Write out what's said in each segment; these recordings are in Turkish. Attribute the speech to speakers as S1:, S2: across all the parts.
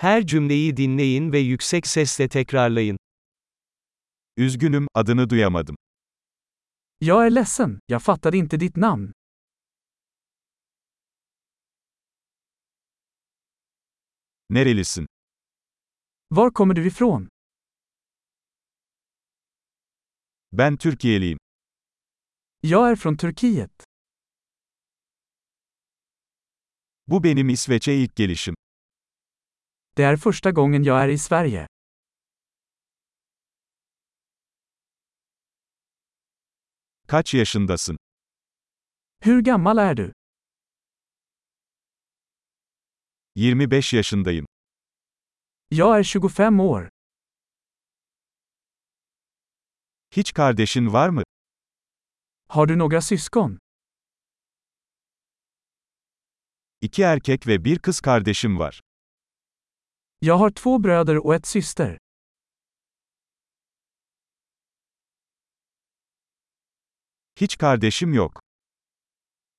S1: Her cümleyi dinleyin ve yüksek sesle tekrarlayın.
S2: Üzgünüm, adını duyamadım.
S3: Jag är ledsen, jag fattade inte ditt namn.
S2: Nerelisin?
S3: Var kommer du ifrån?
S2: Ben Türkiye'liyim.
S3: Jag är från Turkiet.
S2: Bu benim İsveç'e ilk gelişim.
S3: Det är första gången jag är i Sverige.
S2: Kaç yaşındasın?
S3: Hur gammal är du?
S2: 25 yaşındayım.
S3: Jag är 25 år.
S2: Hiç kardeşin var mı?
S3: Har du några syskon?
S2: İki erkek ve bir kız kardeşim var.
S3: Jag har två bröder och ett syster.
S2: Hiç kardeşim yok.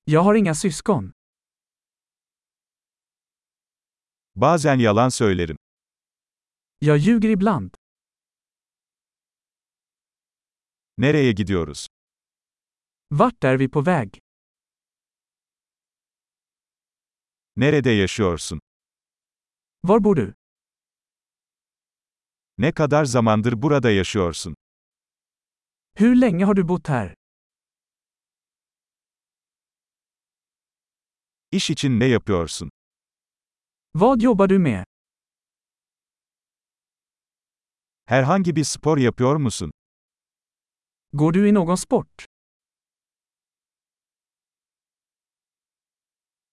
S3: Jag har inga syskon.
S2: Bazen yalan söylerim.
S3: Jag ljuger ibland.
S2: Nereye gidiyoruz?
S3: Vart är vi på väg?
S2: Nerede yaşıyorsun?
S3: Var bor du?
S2: Ne kadar zamandır burada yaşıyorsun?
S3: Hur länge har du bott här?
S2: İş için ne yapıyorsun?
S3: Vad jobbar du med?
S2: Herhangi bir spor yapıyor musun?
S3: Går du i någon sport?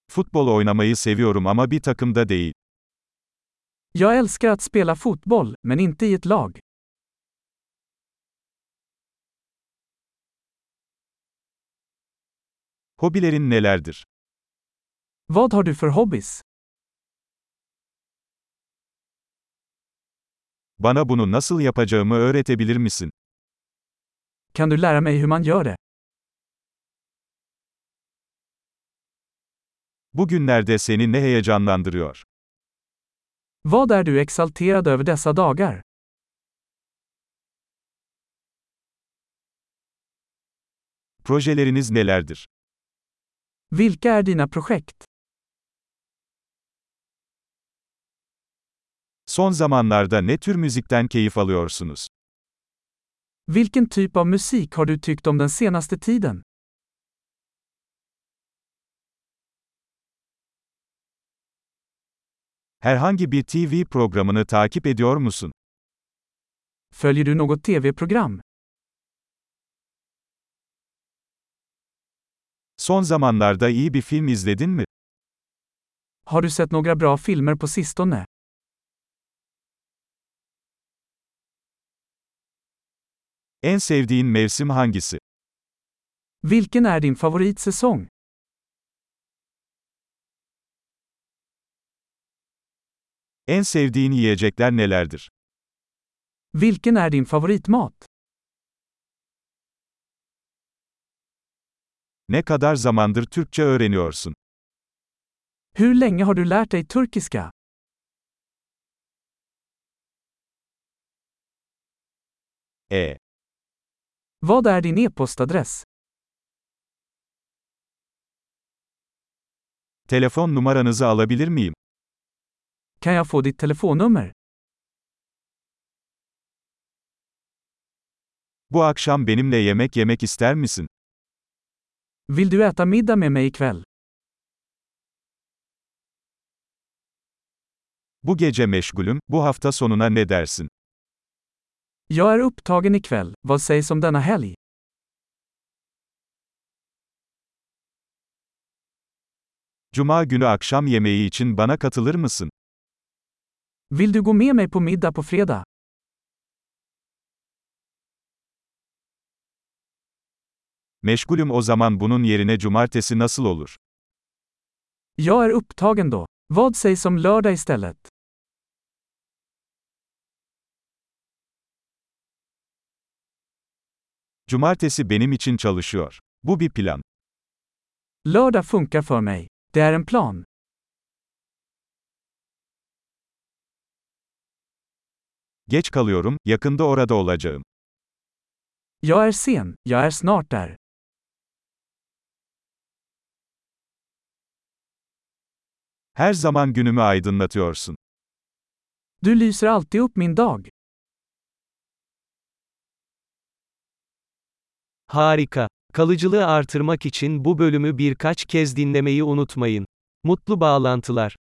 S2: Futbol oynamayı seviyorum ama bir takımda değil.
S3: Jag älskar att spela fotboll, men inte i ett lag.
S2: Hobilerin nelerdir?
S3: Vad har du för hobbies?
S2: Bana bunu nasıl yapacağımı öğretebilir misin?
S3: Kan du lära mig hur man gör det?
S2: Bugünlerde seni ne heyecanlandırıyor?
S3: Vad är du exalterad över dessa dagar?
S2: Projeleriniz nelerdir?
S3: Vilka är dina projekt?
S2: Son zamanlarda ne tür müzikten keyif alıyorsunuz?
S3: Vilken typ av musik har du tyckt om den senaste tiden?
S2: Herhangi bir TV programını takip ediyor musun?
S3: Följer du något tv-program?
S2: Son zamanlarda iyi bir film izledin mi?
S3: Har du sett några bra filmer på sistone?
S2: En sevdiğin mevsim hangisi?
S3: Vilken är din favoritsäsong?
S2: En sevdiğin yiyecekler nelerdir?
S3: Vilken är din favoritmat?
S2: Ne kadar zamandır Türkçe öğreniyorsun?
S3: Hur länge har du lärt dig turkiska?
S2: E.
S3: Vad är din e-postadress?
S2: Telefon numaranızı alabilir miyim?
S3: Kan jag få ditt telefonnummer?
S2: Bu akşam benimle yemek yemek ister misin?
S3: Vill du äta middag med mig ikväll?
S2: Bu gece meşgulüm, bu hafta sonuna ne dersin?
S3: Jag är upptagen ikväll, vad sägs om denna helg?
S2: Cuma günü akşam yemeği için bana katılır mısın?
S3: Vill du gå med mig på middag på fredag?
S2: Meşgulüm o zaman bunun yerine cumartesi nasıl olur?
S3: Jag är upptagen då. Vad sägs om lördag istället?
S2: Cumartesi benim için çalışıyor. Bu bir plan.
S3: Lördag funkar för mig. Det är en plan.
S2: Geç kalıyorum, yakında orada olacağım.
S3: Jag är sen, jag är snart där.
S2: Her zaman günümü aydınlatıyorsun.
S3: Du lyser alltid upp min dag.
S1: Harika. Kalıcılığı artırmak için bu bölümü birkaç kez dinlemeyi unutmayın. Mutlu bağlantılar.